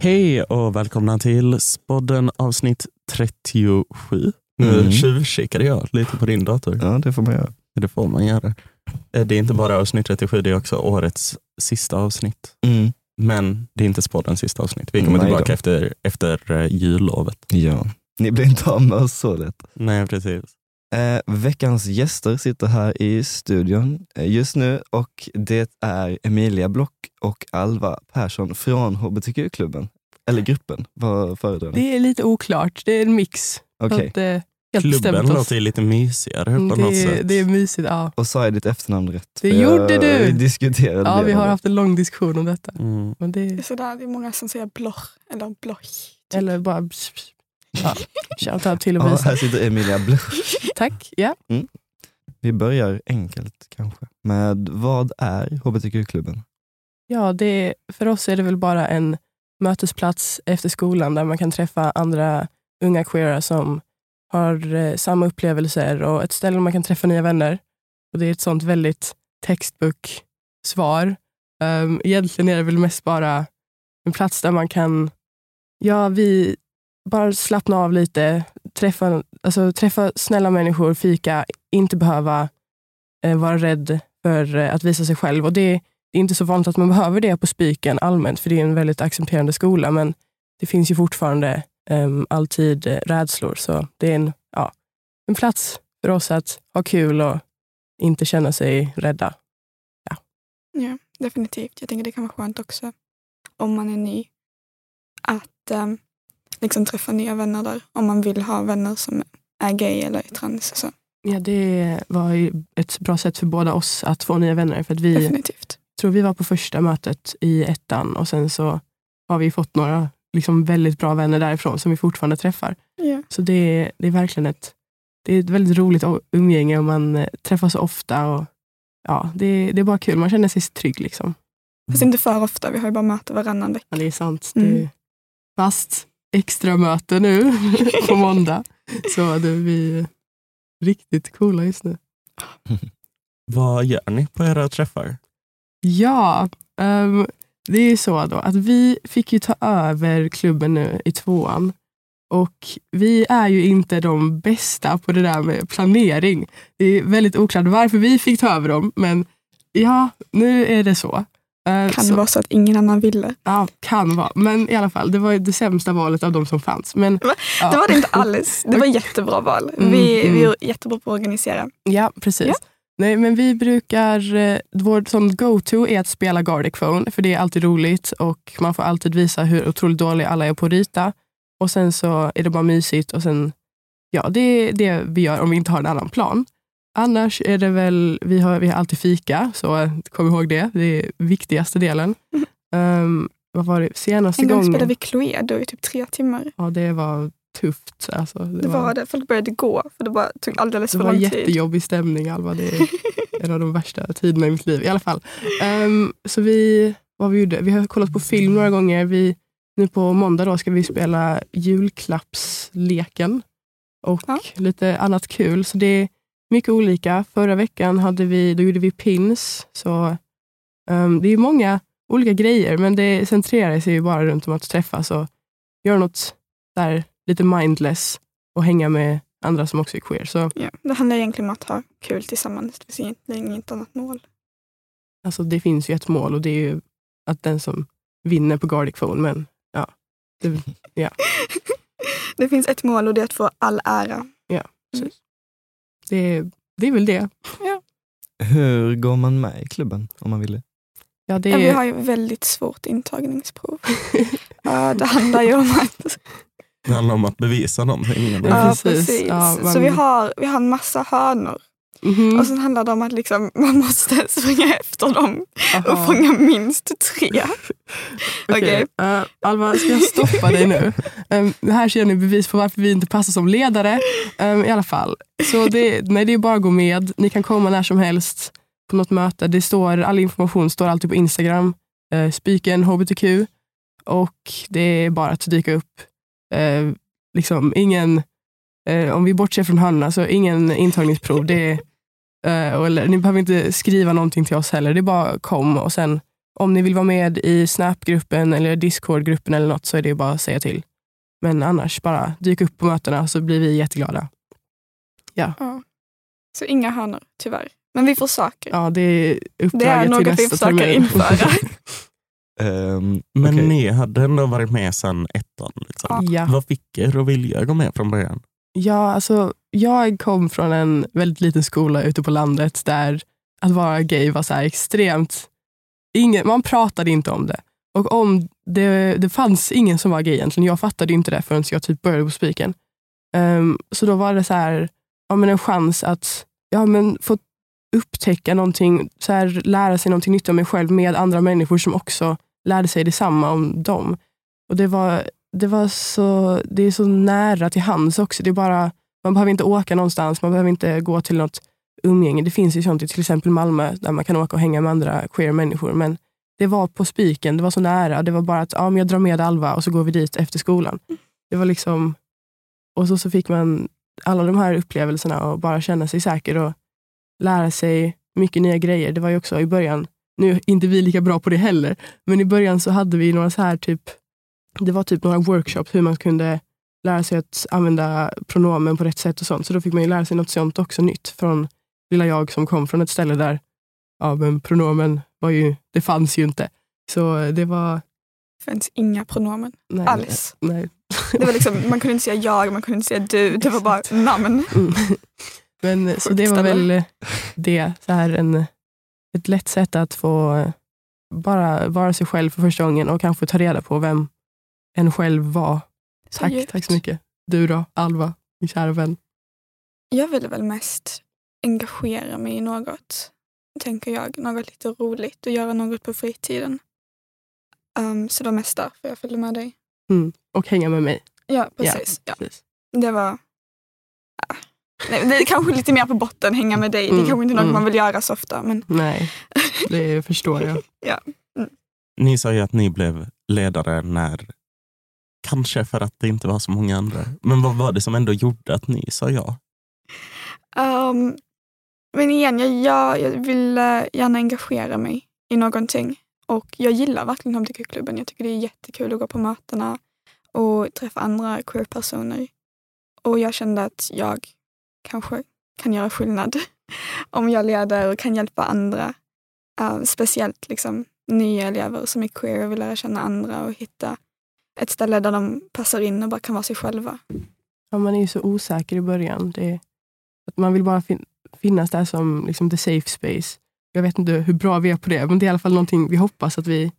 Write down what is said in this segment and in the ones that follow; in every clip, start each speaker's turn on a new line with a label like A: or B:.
A: Hej och välkomna till Spodden avsnitt 37. Nu
B: Mm.
A: tjuvkikade jag lite på din dator.
B: Ja, det får man göra.
A: Det får man göra. Eh, Det är inte bara avsnitt 37, det är också årets sista avsnitt. Men det är inte Spoddens sista avsnitt. Vi kommer
B: Nej då.
A: tillbaka efter, efter eh, jullovet.
B: Ja. Ni blir inte av med oss så lätt.
A: Nej, precis.
B: Eh, veckans gäster sitter här i studion eh, just nu och det är Emilia Block och Alva Persson från HBTQ-klubben. Eller gruppen, vad föredrar ni?
C: Det är lite oklart. Det är en mix.
B: Okej,
C: Så att, eh, helt
A: Klubben
C: bestämt oss.
A: låter ju lite mysigare på något
C: det, är,
A: sätt.
C: det är mysigt. Ja.
B: och sa jag ditt efternamn rätt?
C: Det
B: För jag-
C: gjorde du!
B: Vi diskuterade
C: Ja,
B: det.
C: vi har haft en lång diskussion om detta.
A: Mm.
C: Men
D: Det är
C: det,
D: sådär, det är många som säger bloch eller bloch. typ.
C: eller bara... Pss, pss. Ja, Shoutout till
B: Ja,
C: Lovisa.
B: här sitter Emilia Block.
C: Tack. Ja.
B: Vi börjar enkelt kanske med vad är HBTQ-klubben?
C: Ja, det, är- för oss är det väl bara en mötesplats efter skolan där man kan träffa andra unga queera som har eh, samma upplevelser och ett ställe där man kan träffa nya vänner. Och Det är ett sånt väldigt textbook-svar. Um, egentligen är det väl mest bara en plats där man kan ja, vi bara slappna av lite, träffa, alltså, träffa snälla människor, fika, inte behöva eh, vara rädd för eh, att visa sig själv. Och det är det är inte så vanligt att man behöver det på spiken allmänt, för det är en väldigt accepterande skola, men det finns ju fortfarande em, alltid eh, rädslor. Så det är en, ja, en plats för oss att ha kul och inte känna sig rädda.
D: Ja, definitivt. Jag tänker det kan vara skönt också om man är ny. Att ehm, liksom träffa nya vänner där. Om man vill ha vänner som är gay eller är trans. och Så.
C: Ja, det var ju ett bra sätt för båda oss att få nya vänner, för att vi
D: Definitivt.
C: tror vi var på första mötet i ettan och sen så har vi fått några liksom väldigt bra vänner därifrån som vi fortfarande träffar.
D: Ja.
C: Så det är, det är verkligen ett, det är ett väldigt roligt o- umgänge och man eh, träffas ofta. Och, ja, det, det är bara kul, man känner sig trygg. Liksom.
D: Fast inte för ofta, vi har ju bara möte varannan vecka.
C: Ja, det är sant.
D: Mm.
C: Det, fast extra möte nu på måndag. Så det blir riktigt coola just nu.
A: Vad gör ni på era träffar?
C: Ja, ehm, det är ju så då att vi fick ju ta över klubben nu i tvåan. Och vi är ju inte de bästa på det där med planering. Det är väldigt oklart varför vi fick ta över dem, men ja, nu är det så. Eh,
D: Kan
C: så
D: vara så att ingen annan ville.
C: ja, kan vara. Men i alla fall, det var ju det sämsta valet av de som fanns. Men,
D: Va?
C: ja.
D: Det var det inte alls. Det var jättebra val. Vi,
C: Mm,
D: vi
C: mm.
D: är jättebra på att organisera.
C: Ja, precis.
D: Ja.
C: Nej, men vi brukar, eh, vår sån go-to är att spela Gardic Phone, för det är alltid roligt och man får alltid visa hur otroligt dåliga alla är på att rita. Och sen så är det bara mysigt och sen, ja, det är det vi gör om vi inte har en annan plan. Annars är det väl, vi har, vi har alltid fika, så kom ihåg det. Det är viktigaste delen.
D: Mm.
C: Ehm, vad var det senaste
D: En gång
C: gången?
D: spelade vi Cluedo i typ tre timmar.
C: Ja, det var tufft. Alltså, det,
D: Det var det. Folk började gå för det bara tog alldeles
C: Det
D: för
C: var
D: lång tid.
C: jättejobbig stämning Alva. Det är en av de värsta tiderna i mitt liv i alla fall. Ehm, så vi, vad vi gjorde? Vi har kollat på film några gånger. Vi, nu på måndag då ska vi spela julklappsleken och
D: Ja.
C: lite annat kul. Så det är mycket olika. Förra veckan hade vi, då gjorde vi pins. Så ehm, det är många olika grejer, men det centrerar sig ju bara runt om att träffas och göra något där lite mindless och hänga med andra som också är queer. Så
D: Ja, det handlar egentligen om att ha kul tillsammans. Det finns egentligen inget annat mål.
C: Alltså det finns ju ett mål och det är ju att den som vinner på Gardic Phone, men ja. Det,
D: Det finns ett mål och det är att få all ära.
C: det, är- det är väl det.
B: Hur går man med i klubben om man vill det?
C: Ja, det
D: Ja, vi
C: är,
D: har ju väldigt svårt intagningsprov. Ja, det handlar ju om att...
A: Det handlar om att bevisa någonting.
C: Ja,
D: Ja,
C: precis.
D: precis.
C: Ja, man-
D: Så vi har, vi har en massa hörnor.
C: Mhm.
D: Och sen handlar det om att liksom, man måste springa efter dem och
C: Aha.
D: fånga minst tre.
C: Okej. Eh, Alva, ska jag stoppa dig nu? Ehm, det här ser ni bevis på varför vi inte passar som ledare. Ehm, I alla fall. Så det, nej, det är bara att gå med. Ni kan komma när som helst på något möte. Det står, all information står alltid på Instagram. Uh, spiken hbtq. Och det är bara att dyka upp. Eh, liksom, ingen, eh, om vi bortser från Hanna, så ingen intagningsprov. Det är, eh, och- eller, ni behöver inte skriva någonting till oss heller. Det är bara kom och sen Om ni vill vara med i Snap-gruppen eller Discord-gruppen eller något så är det ju bara att säga till. Men annars, bara dyk upp på mötena så blir vi jätteglada.
D: Ja. Så inga hönor, tyvärr. Men vi försöker.
C: Ja, det är
D: det är
C: uppdraget till
D: något vi
C: nästa
D: försöker
C: termin.
D: införa.
B: Ehm,
A: Men
B: okej.
A: ni hade ändå varit med sedan ettan. Liksom.
D: Ja.
C: ja.
A: Vad fick er att vilja gå med från början?
C: Ja, alltså, jag kom från en väldigt liten skola ute på landet där att vara gay var så här extremt... Ingen, man pratade inte om det. Och om det, det fanns ingen som var gay egentligen. Jag fattade ju inte det förrän jag typ började på Spiken. Ehm, så då var det så här, ja, men en chans att ja, men få upptäcka någonting, så här, lära sig någonting nytt om mig själv med andra människor som också lärde sig detsamma om dem. Och det var det, var så, det är så nära till hands också. Det är bara, man behöver inte åka någonstans, man behöver inte gå till något umgänge. Det finns ju sånt i till exempel Malmö där man kan åka och hänga med andra queer-människor. Men det var på spiken, det var så nära. Det var bara att ja, men jag drar med Alva och så går vi dit efter skolan. Det var liksom... Och så, så fick man alla de här upplevelserna och bara känna sig säker och lära sig mycket nya grejer. Det var ju också i början, nu är inte vi lika bra på det heller, men i början så hade vi några så här typ det var typ några workshops hur man kunde lära sig att använda pronomen på rätt sätt och sånt. Så då fick man ju lära sig något sånt också nytt från lilla jag som kom från ett ställe där ja, men pronomen var ju, det fanns ju inte. Så det var...
D: Det finns inga pronomen
C: Nej,
D: alls.
C: Nej.
D: Det var liksom, man kunde inte säga jag, man kunde inte säga du. Det var bara namn.
C: Mm. Men, så
D: Sjukt
C: det var
D: ställe.
C: väl det. Så här en, ett lätt sätt att få bara vara sig själv för första gången och kanske ta reda på vem en själv var.
D: Så
C: Tack,
D: djupt.
C: tack så mycket. Du då, Alva, min kära vän.
D: Jag ville väl mest engagera mig i något, tänker jag. Något lite roligt och göra något på fritiden. Ehm, så det var mest därför jag följde med dig.
C: Och hänga med mig.
D: Ja, precis. Ja.
C: Precis.
D: Det var... Ja. Nej, det är kanske lite mer på botten, hänga med dig. Det
C: Mm,
D: är kanske inte något
C: mm.
D: man vill göra så ofta. Men
C: Nej, det förstår jag.
A: Ni sa ju att ni blev ledare när, kanske för att det inte var så många andra, men vad var det som ändå gjorde att ni sa ja?
D: Ehm, men igen, jag, jag, jag vill eh, gärna engagera mig i någonting. Och jag gillar verkligen hbtq-klubben. Jag tycker det är jättekul att gå på mötena och träffa andra queer-personer. Och jag kände att jag kanske kan göra skillnad om jag leder och kan hjälpa andra. Eh, speciellt liksom, nya elever som är queer och vill lära känna andra och hitta ett ställe där de passar in och bara kan vara sig själva.
C: Ja, man är ju så osäker i början. Det, att man vill bara fin- finnas där som liksom, the safe space. Jag vet inte hur bra vi är på det, men det är i alla fall någonting vi hoppas att vi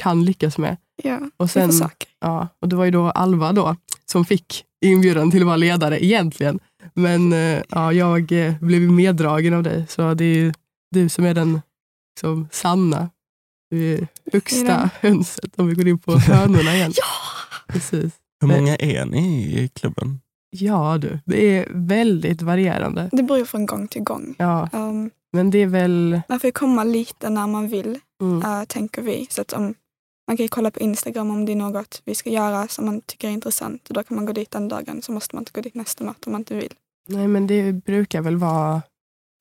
C: kan lyckas med.
D: Ja,
C: Och sen-
D: vi försöker.
C: Ja, och det var ju då Alva då, som fick inbjudan till att vara ledare egentligen. Men eh, ja, jag eh, blev ju meddragen av dig, så det är ju du som är den som sanna. Du är
D: Det är den.
C: högsta hönset, om vi går in på hönorna igen.
D: Ja!
C: Precis.
A: Hur
C: Nej.
A: många är ni i klubben?
C: Ja du, det är väldigt varierande.
D: Det beror ju från gång till gång.
C: Ja,
D: Ehm,
C: men det är väl...
D: Man får ju komma lite när man vill,
C: Mm,
D: eh, tänker vi. Så att om, man kan ju kolla på Instagram om det är något vi ska göra som man tycker är intressant. Och då kan man gå dit den dagen, så måste man inte gå dit nästa möte om man inte vill.
C: nej, men det brukar väl vara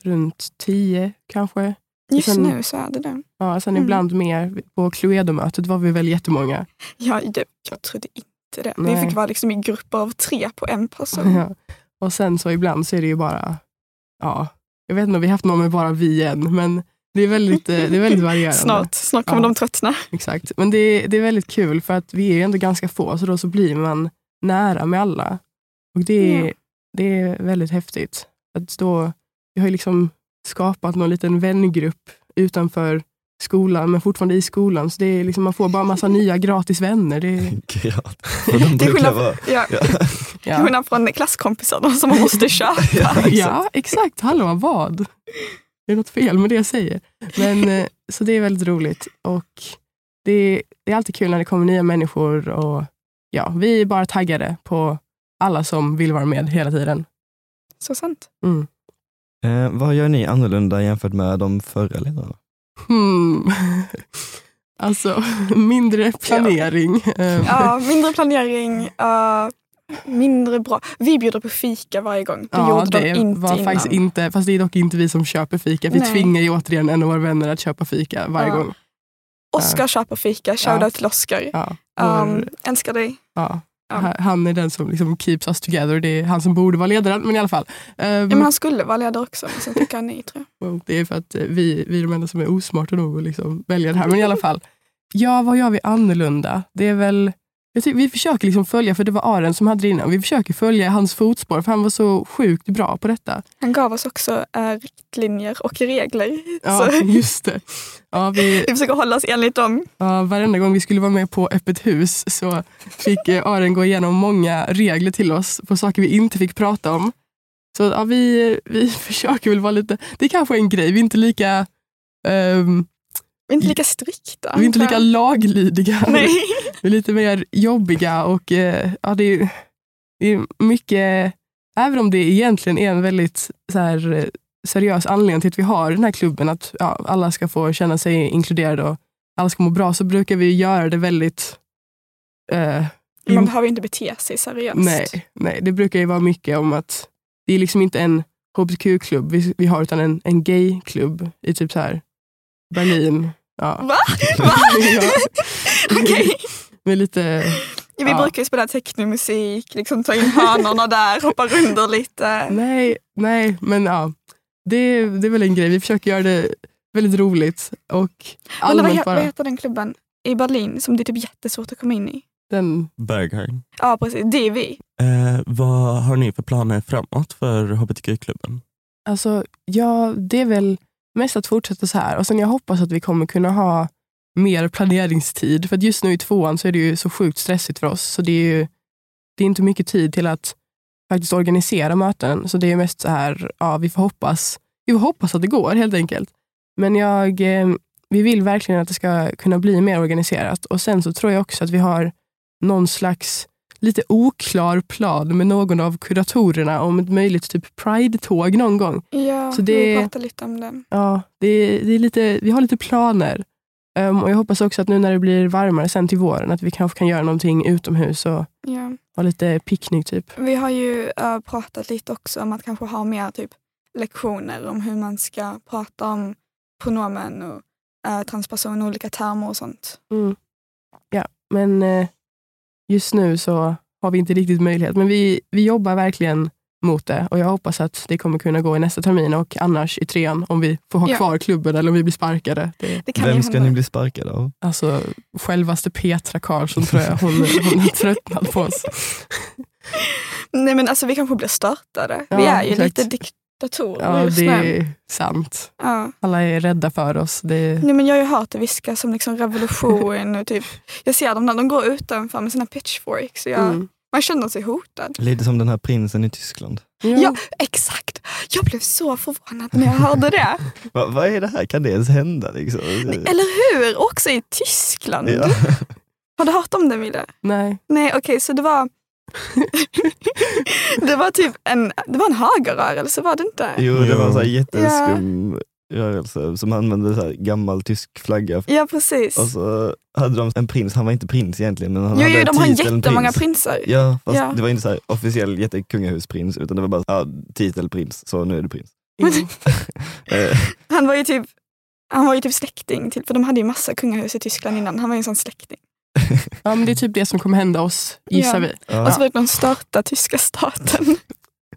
C: runt tio kanske.
D: Just
C: sen-
D: nu så är det det.
C: Ja, sen
D: Mm.
C: ibland mer. På Cluedo-mötet var vi väl jättemånga.
D: Ja, det jag trodde inte det.
C: Nej.
D: Vi fick vara liksom i grupper av tre på en person.
C: Ja. Och sen så ibland så är det ju bara... Ja, jag vet inte om vi haft någon med bara vi än, men det är väldigt, eh, det är väldigt varierande.
D: Snart, snart kommer
C: Ja.
D: de tröttna.
C: Exakt. Men det, det är väldigt kul för att vi är ju ändå ganska få så då så blir man nära med alla. Och det är,
D: Ja.
C: det är väldigt häftigt. Att då, vi har ju liksom skapat någon liten vängrupp utanför skolan men fortfarande i skolan. Så det är liksom, man får bara massa nya gratis vänner. Det är,
B: Grat. Och de
D: Det är
B: brukar
D: skillnad-
B: vara...
D: Ja.
B: Ja.
D: till Skillnad från klasskompisarna som man måste köpa.
B: Ja, exakt.
C: Ja, exakt. Hallå, vad? Det är något fel med det jag säger. Men, eh, så det är väldigt roligt. Och det, är- det är alltid kul när det kommer nya människor. Och, ja, vi är bara taggade på alla som vill vara med hela tiden.
D: Så sant.
C: Mm.
B: Eh, vad gör ni annorlunda jämfört med de förra ledarna?
C: Hmm. Alltså, mindre planering. Eh,
D: Ja, mindre planering, eh, mindre bra. Vi bjuder på fika varje gång. Det
C: Ja,
D: gjorde
C: det
D: de inte
C: var
D: innan.
C: faktiskt inte, fast det är dock inte vi som köper fika. Vi
D: Nej.
C: tvingar ju återigen en av våra vänner att köpa fika varje
D: Ja.
C: gång.
D: Oskar köper fika, shoutout till Oskar.
C: Ja,
D: Um,
C: vår,
D: älskar dig.
C: ja.
D: ja.
C: Han- Han är den som liksom keeps us together. Det är han som borde vara ledaren, men i alla fall. Ehm,
D: Ja, men han skulle vara ledare också, men sen tycker han nej tror jag.
C: Wow, Det är för att eh, vi, vi är de enda som är osmarta nog att liksom välja det här. Men i alla fall, ja vad gör vi annorlunda? Det är väl, jag tycker, vi försöker liksom följa, för det var Aren som hade det innan, vi försöker följa hans fotspår för han var så sjukt bra på detta.
D: Han gav oss också eh, riktlinjer och regler.
C: Ja,
D: Så
C: just det. Ja, vi,
D: vi försöker hålla oss enligt dem.
C: ja, varenda gång vi skulle vara med på öppet hus så fick eh, Aren gå igenom många regler till oss på saker vi inte fick prata om. Så ja, vi, vi försöker väl vara lite, det är kanske är en grej, vi är inte lika ehm,
D: Vi är inte lika strikta.
C: Vi är inte lika laglydiga.
D: Nej.
C: Vi är lite mer jobbiga och eh, ja, det, är, det är mycket, även om det egentligen är en väldigt så här, eh, seriös anledning till att vi har den här klubben, att ja, alla ska få känna sig inkluderade och alla ska må bra, så brukar vi göra det väldigt eh,
D: Man behöver ju inte bete sig seriöst.
C: Nej, nej, det brukar ju vara mycket om att det är liksom inte en hbtq-klubb vi, vi har, utan en, en gay-klubb i typ så här Berlin. Ja.
D: Va? Va?
C: Ja.
D: Okej.
C: Med lite,
D: Ja, vi
C: Ja.
D: brukar ju spela technomusik, liksom ta in hörnorna där, hoppa runder lite.
C: nej, nej, men ja. Det, det är väl en grej. Vi försöker göra det väldigt roligt och
D: Alla, vad,
C: allmänt
D: he- vad
C: bara.
D: heter den klubben i Berlin som det är typ jättesvårt att komma in i?
C: Den,
A: Berghain.
D: Ja precis, det är vi.
A: Eh, vad har ni för planer framåt för hbtq-klubben?
C: alltså, ja, det är väl mest att fortsätta så här. Och sen jag hoppas att vi kommer kunna ha mer planeringstid. För att just nu i tvåan så är det ju så sjukt stressigt för oss. Så det är ju det är inte mycket tid till att faktiskt organisera möten. Så det är mest så här, ja, vi får hoppas. Vi får hoppas att det går helt enkelt. Men jag, eh, vi vill verkligen att det ska kunna bli mer organiserat. Och sen så tror jag också att vi har någon slags lite oklar plan med någon av kuratorerna om ett möjligt typ pride-tåg någon gång.
D: Ja,
C: Så det-
D: vi pratade lite om det.
C: Ja, det är, det är lite, vi har lite planer. Ehm, och Jag hoppas också att nu när det blir varmare sen till våren att vi kanske kan göra någonting utomhus och
D: Ja.
C: ha lite picknick. typ.
D: Vi har ju eh, pratat lite också om att kanske ha mer typ, lektioner om hur man ska prata om pronomen och uh, transperson och olika termer och sånt.
C: Mm. Men eh, just nu så har vi inte riktigt möjlighet. Men vi, vi jobbar verkligen mot det och jag hoppas att det kommer kunna gå i nästa termin och annars i trean om vi får ha
D: Ja.
C: kvar klubben eller om vi blir sparkade. Det,
D: Det kan ju
B: Vem ska
D: hända.
B: ni bli sparkade av?
C: alltså självaste Petra Karlsson tror jag hon, hon har tröttnat på oss.
D: Nej men alltså vi kanske blir startade.
C: Ja,
D: vi är ju
C: exakt.
D: lite diktatorer
C: Ja,
D: just
C: det
D: nu.
C: är sant.
D: Ja.
C: Alla är rädda för oss. Det,
D: Nej, men jag har ju hört det viskas som liksom revolution och typ, jag ser dem när de går utanför med sina pitchforks. Och jag,
C: mm.
D: Man känner sig hotad.
B: Lite som den här prinsen i Tyskland.
D: Ja, exakt. Jag blev så förvånad när jag hörde det.
B: Va, vad är det här? Kan det ens hända? Liksom?
D: Eller hur? Också i Tyskland.
B: Ja.
D: Har du hört om det Mille?
C: Nej.
D: Nej okej, så det var det var typ en, det var en högerrörelse var det inte?
B: Jo, det var en sån här jätteskum rörelse som använde så här gammal tysk flagga.
D: Ja precis.
B: Och så hade de en prins, han var inte prins egentligen men han
D: jo,
B: hade
D: jo, de har
B: titeln
D: jättemånga
B: prins.
D: prinsar.
B: Ja, fast
D: Ja.
B: det var inte så här officiell jättekungahusprins utan det var bara ja, titelprins, så nu är du prins.
C: Mm.
B: Eh,
D: Han var ju typ han var ju typ släkting till, för de hade ju massa kungahus i Tyskland innan. Han var ju en sån släkting.
C: Ja, men det är typ det som kommer hända oss, gissar
D: Ja.
C: vi.
D: Och
B: ja.
D: så fick de starta tyska staten.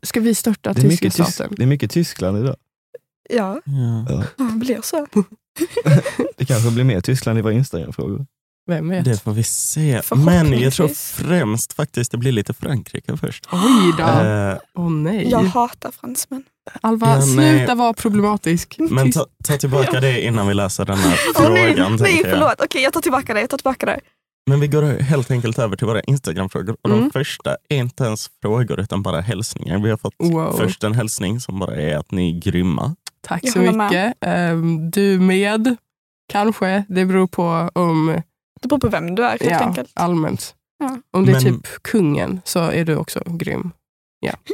C: Ska vi störta
B: det, är
C: tyska
B: mycket tysk,
C: staten?
B: det är mycket Tyskland idag.
D: Ja,
A: Ja.
D: han blir så.
B: Det kanske blir mer Tyskland i våra Instagram-frågor.
C: Vem vet?
A: Det får vi se. Men jag
D: Förhoppningsvis.
A: tror främst faktiskt det blir lite Frankrike först.
C: Oj då. Åh
A: Eh,
C: nej.
D: Jag hatar fransmän.
C: Alva,
A: Ja, nej.
C: sluta vara problematisk.
D: Mm.
A: men ta, ta tillbaka det innan vi läser den här
D: Åh
A: frågan.
D: nej, nej
A: tänker jag.
D: förlåt. Okej, jag tar tillbaka det. Jag tar tillbaka det.
A: Men vi går helt enkelt över till våra Instagram-frågor. Och
C: Mm.
A: De första är inte ens frågor utan bara hälsningar. Vi har fått
C: Wow.
A: först en hälsning som bara är att ni är grymma.
C: Tack
D: Jag
C: så
D: håller med.
C: mycket. Ehm, du med, kanske. Det beror på om
D: Det beror på vem du är helt
C: ja,
D: enkelt.
C: allmänt.
D: Ja.
C: Om det är
A: Men-
C: typ kungen så är du också grym.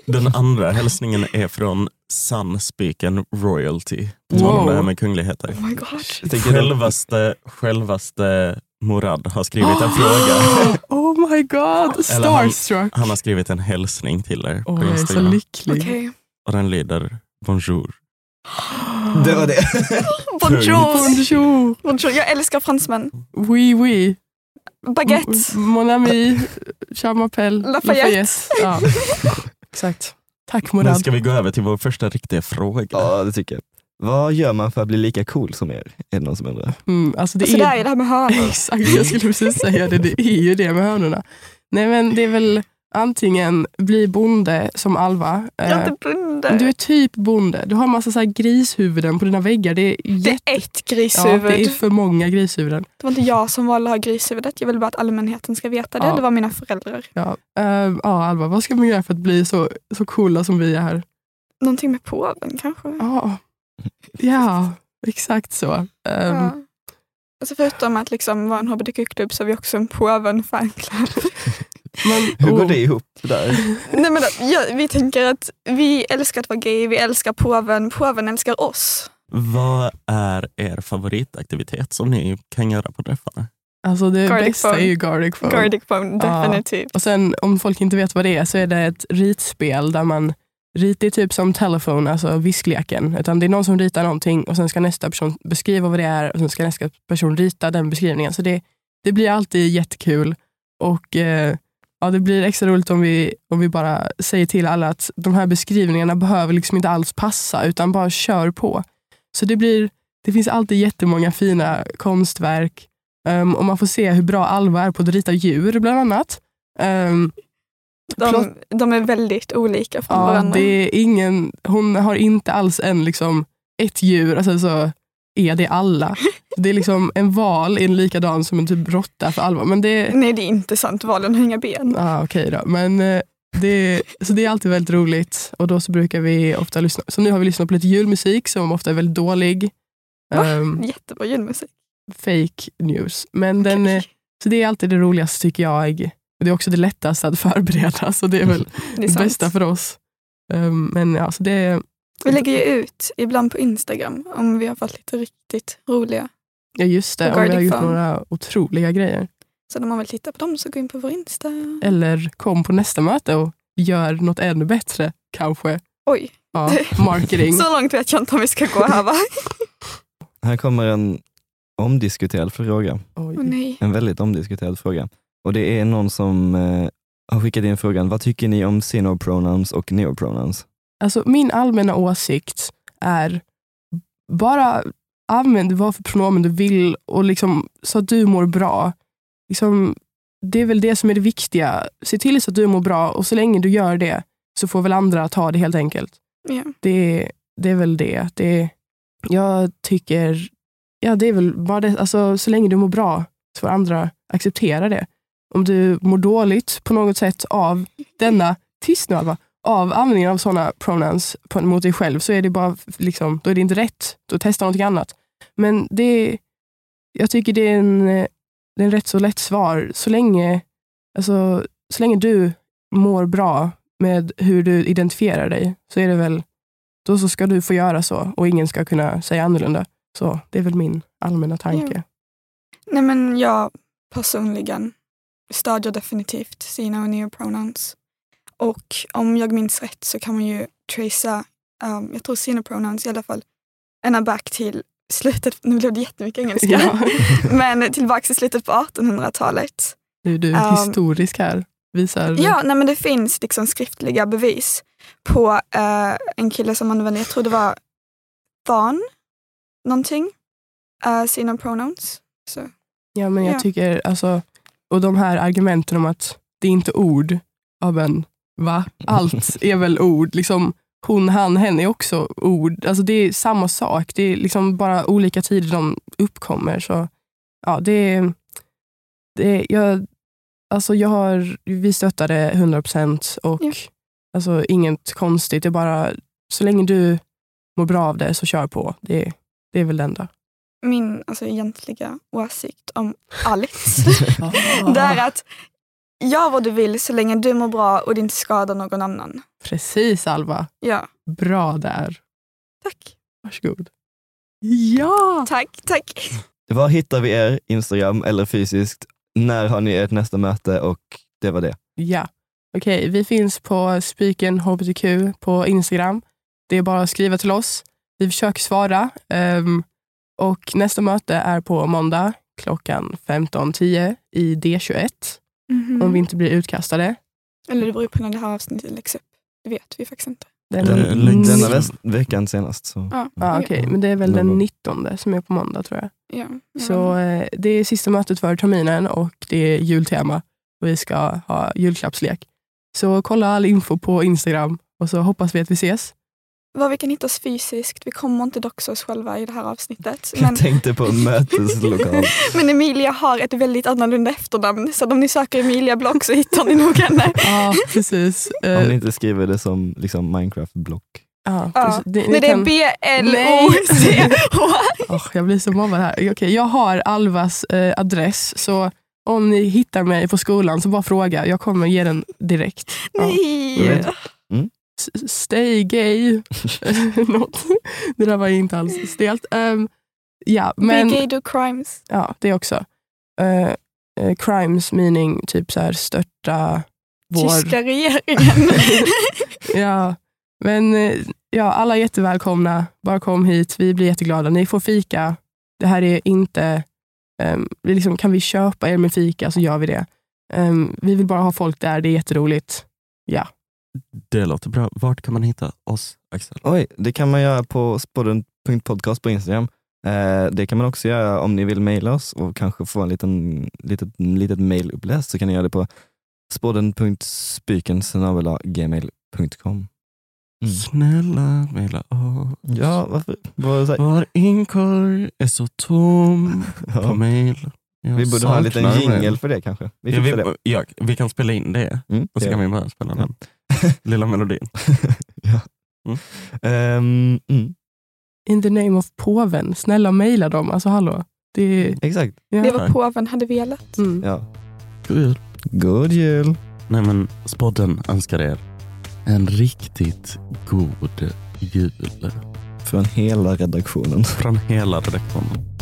A: Den andra hälsningen är från Sunspiken Royalty. På tal om
C: Wow.
A: det här med kungligheter.
D: Oh my god.
B: Jag tänker-
A: Självaste, självaste Morad har skrivit
C: Ah.
A: en
D: Oh.
A: fråga.
C: Oh my god, starstruck.
A: Han har skrivit en hälsning till er
C: Åh,
A: på
C: jag är så
A: Instagram.
C: lycklig.
D: Okej.
A: Och den lyder Bonjour.
B: Det var det.
D: Bonjour!
C: Bonjour!
D: Bonjour! Jag älskar fransmän.
C: Oui, oui.
B: Mm,
D: Baguette!
C: M- Mon ami. Chamapel.
D: Lafayette.
C: Ja. Exakt. Tack
A: Men
C: Murad.
A: ska vi gå över till vår första riktiga fråga?
B: Ja, det tycker jag. Vad gör man för att bli lika cool som er? Är det någon som undrar?
C: Mm, alltså det
D: Alltså
C: är
D: det här är det här med hönor.
C: Exakt, jag skulle precis säga det. Det är ju det med hönorna. Nej men det är väl antingen bli bonde som Alva.
D: Jag är
C: Eh,
D: inte bonde.
C: Du är typ bonde. Du har massa så här grishuvuden på dina väggar. Det är,
D: Det är
C: jätte-
D: ett
C: ja,
D: grishuvud.
C: det är för många grishuvuden.
D: Det var inte jag som valde att ha grishuvudet. Jag ville bara att allmänheten ska veta det.
C: Ja.
D: Det var mina föräldrar.
C: Ja. Eh, ja, Alva, vad ska man göra för att bli så, så coola som vi är här?
D: Någonting med påven kanske.
C: Ja, ja exakt så. Eh,
D: Ja. Alltså förutom att liksom vara en hbtq-klubb så är vi också en påven fanclub.
C: men,
B: Hur går
C: oh,
B: det ihop? Det där?
D: Nej, men, ja, vi tänker att vi älskar att vara gay, vi älskar påven, påven älskar oss.
A: Vad är er favoritaktivitet som ni kan göra på träffarna?
C: Alltså det
D: Garlic
C: bästa
D: phone.
C: är ju garlic phone.
D: Gardic phone,
C: Ja.
D: definitivt.
C: Och sen om folk inte vet vad det är så är det ett ritspel där man rit är typ som telefon, alltså viskleken. Utan det är någon som ritar någonting och sen ska nästa person beskriva vad det är och sen ska nästa person rita den beskrivningen. Så det, det blir alltid jättekul. Och eh, ja, det blir extra roligt om vi, om vi bara säger till alla att de här beskrivningarna behöver liksom inte alls passa utan bara kör på. Så det blir, det finns alltid jättemånga fina konstverk ehm, och man får se hur bra Alva är på att rita djur bland annat. Ehm,
D: De, de är väldigt olika från
C: ja,
D: varandra.
C: det är ingen, hon har inte alls en, liksom, ett djur och sen så är det alla. Det är liksom en val är likadan som en typ råtta för Alva. Men det,
D: Nej, det är inte sant. Valen har inga ben.
C: ah, okej då. Men, eh, det, så det är alltid väldigt roligt och då så brukar vi ofta lyssna. Så nu har vi lyssnat på lite julmusik som ofta är väldigt dålig.
D: Va?
C: Ehm,
D: Jättebra julmusik.
C: fake news. Men den, eh, så det är alltid det roligaste tycker jag. Det är också det lättaste att förbereda så det är väl
D: Det är
C: det
D: sant.
C: bästa för oss. Ehm, men ja, så det,
D: Vi lägger ju ut ibland på Instagram om vi har varit lite riktigt roliga.
C: ja just det,
D: Och
C: och vi har
D: Garlic
C: gjort
D: Fun.
C: några otroliga grejer.
D: Så när man vill titta på dem så gå in på vår Insta.
C: Eller kom på nästa möte och gör något ännu bättre, kanske.
D: Oj,
C: Ja, marketing.
D: så långt vet jag inte om vi ska gå här va?
B: Här kommer en omdiskuterad fråga.
D: Åh
C: Oj.
D: nej.
B: En väldigt omdiskuterad fråga. Och det är någon som eh, har skickat in frågan, vad tycker ni om sinopronouns och neopronouns?
C: Alltså, min allmänna åsikt är bara använd vad för pronomen du vill och liksom, så att du mår bra. Liksom, det är väl det som är det viktiga. Se till så att du mår bra och så länge du gör det så får väl andra ta det helt enkelt.
D: Ja.
C: det, det är väl det. det jag tycker, ja det är väl bara det, alltså, så länge du mår bra så får andra acceptera det. Om du mår dåligt på något sätt av denna, tyst nu Alva, av användningen av sådana pronouns på, mot dig själv så är det bara liksom, då är det inte rätt. Då testa någonting annat. Men det, jag tycker det är en, det är en rätt så lätt svar. Så länge, alltså, så länge du mår bra med hur du identifierar dig så är det väl då så ska du få göra så och ingen ska kunna säga annorlunda. Så det är väl min allmänna tanke.
D: Nej men jag personligen stödjer definitivt sina och neopronouns. Och om jag minns rätt så kan man ju tracea, um, jag tror sina pronouns i alla fall, ända back till slutet, nu blev det jättemycket engelska,
C: Ja.
D: men tillbaka till slutet på 1800-talet.
C: Nu är du
D: Ehm,
C: historisk här. Visar
D: Ja, nej, men det finns liksom skriftliga bevis på eh, en kille som använde, jag tror det var Thon, någonting, eh, sina pronouns. Så.
C: Ja, men jag
D: Ja.
C: tycker, alltså, och de här argumenten om att det är inte ord, ja men va? Allt är väl ord. Liksom, hon, han, hen är också ord. Alltså det är samma sak. Det är liksom bara olika tider de uppkommer. Så ja, det är, det är, jag, alltså jag har, vi stöttar det 100 procent och
D: Ja.
C: alltså, inget konstigt. Det är bara, så länge du mår bra av det så kör på. Det, det är väl det enda.
D: min alltså, egentliga åsikt om allt. det är att gör vad du vill så länge du mår bra och det inte skadar någon annan.
C: Precis Alva.
D: Ja,
C: Bra där.
D: tack.
C: Varsågod. Ja!
D: Tack, tack.
B: Var hittar vi er? Instagram eller fysiskt? När har ni ert nästa möte? Och det var det.
C: Ja. Okej, vi finns på Spiken HBTQ på Instagram. Det är bara att skriva till oss. Vi försöker svara. ehm, och nästa möte är på måndag klockan 15.10 i D21.
D: Mhm.
C: Om vi inte blir utkastade.
D: Eller det beror ju på när det här avsnittet läggs upp. Det vet vi faktiskt inte.
C: Den,
A: Den- Mm.
B: Denna väst, veckan senast. Så.
D: Ja,
C: Ja,
D: ja.
C: Ah, okej, Men det är väl
B: Någon-
C: den 19 som är på måndag tror jag.
D: ja, ja.
C: Så eh, det är sista mötet för terminen och det är jultema. Vi ska ha julklappslek. Så kolla all info på Instagram och så hoppas vi att vi ses.
D: Var vi kan hitta oss fysiskt. Vi kommer inte doxa oss själva i det här avsnittet. Men,
B: Jag tänkte på en möteslokal.
D: men Emilia har ett väldigt annorlunda efternamn. Så om ni söker Emilia Block så hittar ni nog henne.
C: Ja, precis. Eh,
B: Om ni inte skriver det som liksom Minecraft-block.
C: ja,
D: Ja.
C: precis. Det- ni
D: Nej, det är
C: kan-
D: B-L-O-C-H.
C: Åh, jag blir så mobbad här. Okej, jag har Alvas eh, adress, så om ni hittar mig på skolan så bara fråga. Jag kommer ge den direkt. Ja.
D: Nej!
B: Jag vet.
C: S- Stay gay. Något. Det där var ju inte alls stelt. Ehm, ja, men...
D: Big gay do crimes.
C: Ja, det också. Eh, eh, crimes meaning typ så här störta vår...
D: Tyska regeringen.
C: Ja, men eh, ja, alla är jättevälkomna. Bara kom hit, vi blir jätteglada. Ni får fika. Det här är inte... ehm, det är liksom, kan vi köpa er med fika så gör vi det. Ehm, vi vill bara ha folk där, det är jätteroligt.
A: Det låter bra. Vart kan man hitta oss, Axel?
B: Oj, det kan man göra på spodden.podcast på Instagram. Eh, det kan man också göra om ni vill mejla oss och kanske få en liten, litet, litet mejl uppläst så kan ni göra det på spodden.spyken.gmail.com Mm.
A: Snälla, mejla oss.
B: Ja, varför? Var så här,
A: Var inkorg är så tom på
B: ja.
A: mejl. Jag
B: Vi borde ha en liten
A: saknar mejl.
B: jingel för det kanske. Vi
A: Ja,
B: fixar
A: vi,
B: det.
A: ja, vi kan spela in det
B: Mm,
A: och så
B: det
A: kan
B: gör
A: vi bara spela
B: Ja.
A: den lilla melodin.
B: ja.
A: Mm.
B: Ehm, mm,
C: In the name of påven, snälla mejla dem. Alltså hallå. Det är...
B: exakt.
D: Det
C: Ja.
D: var påven hade velat.
C: Mm.
B: Ja.
A: Gud.
B: God jul!
A: Nej men Spodden önskar er en riktigt god jul
B: Från hela redaktionen.
A: från hela redaktionen.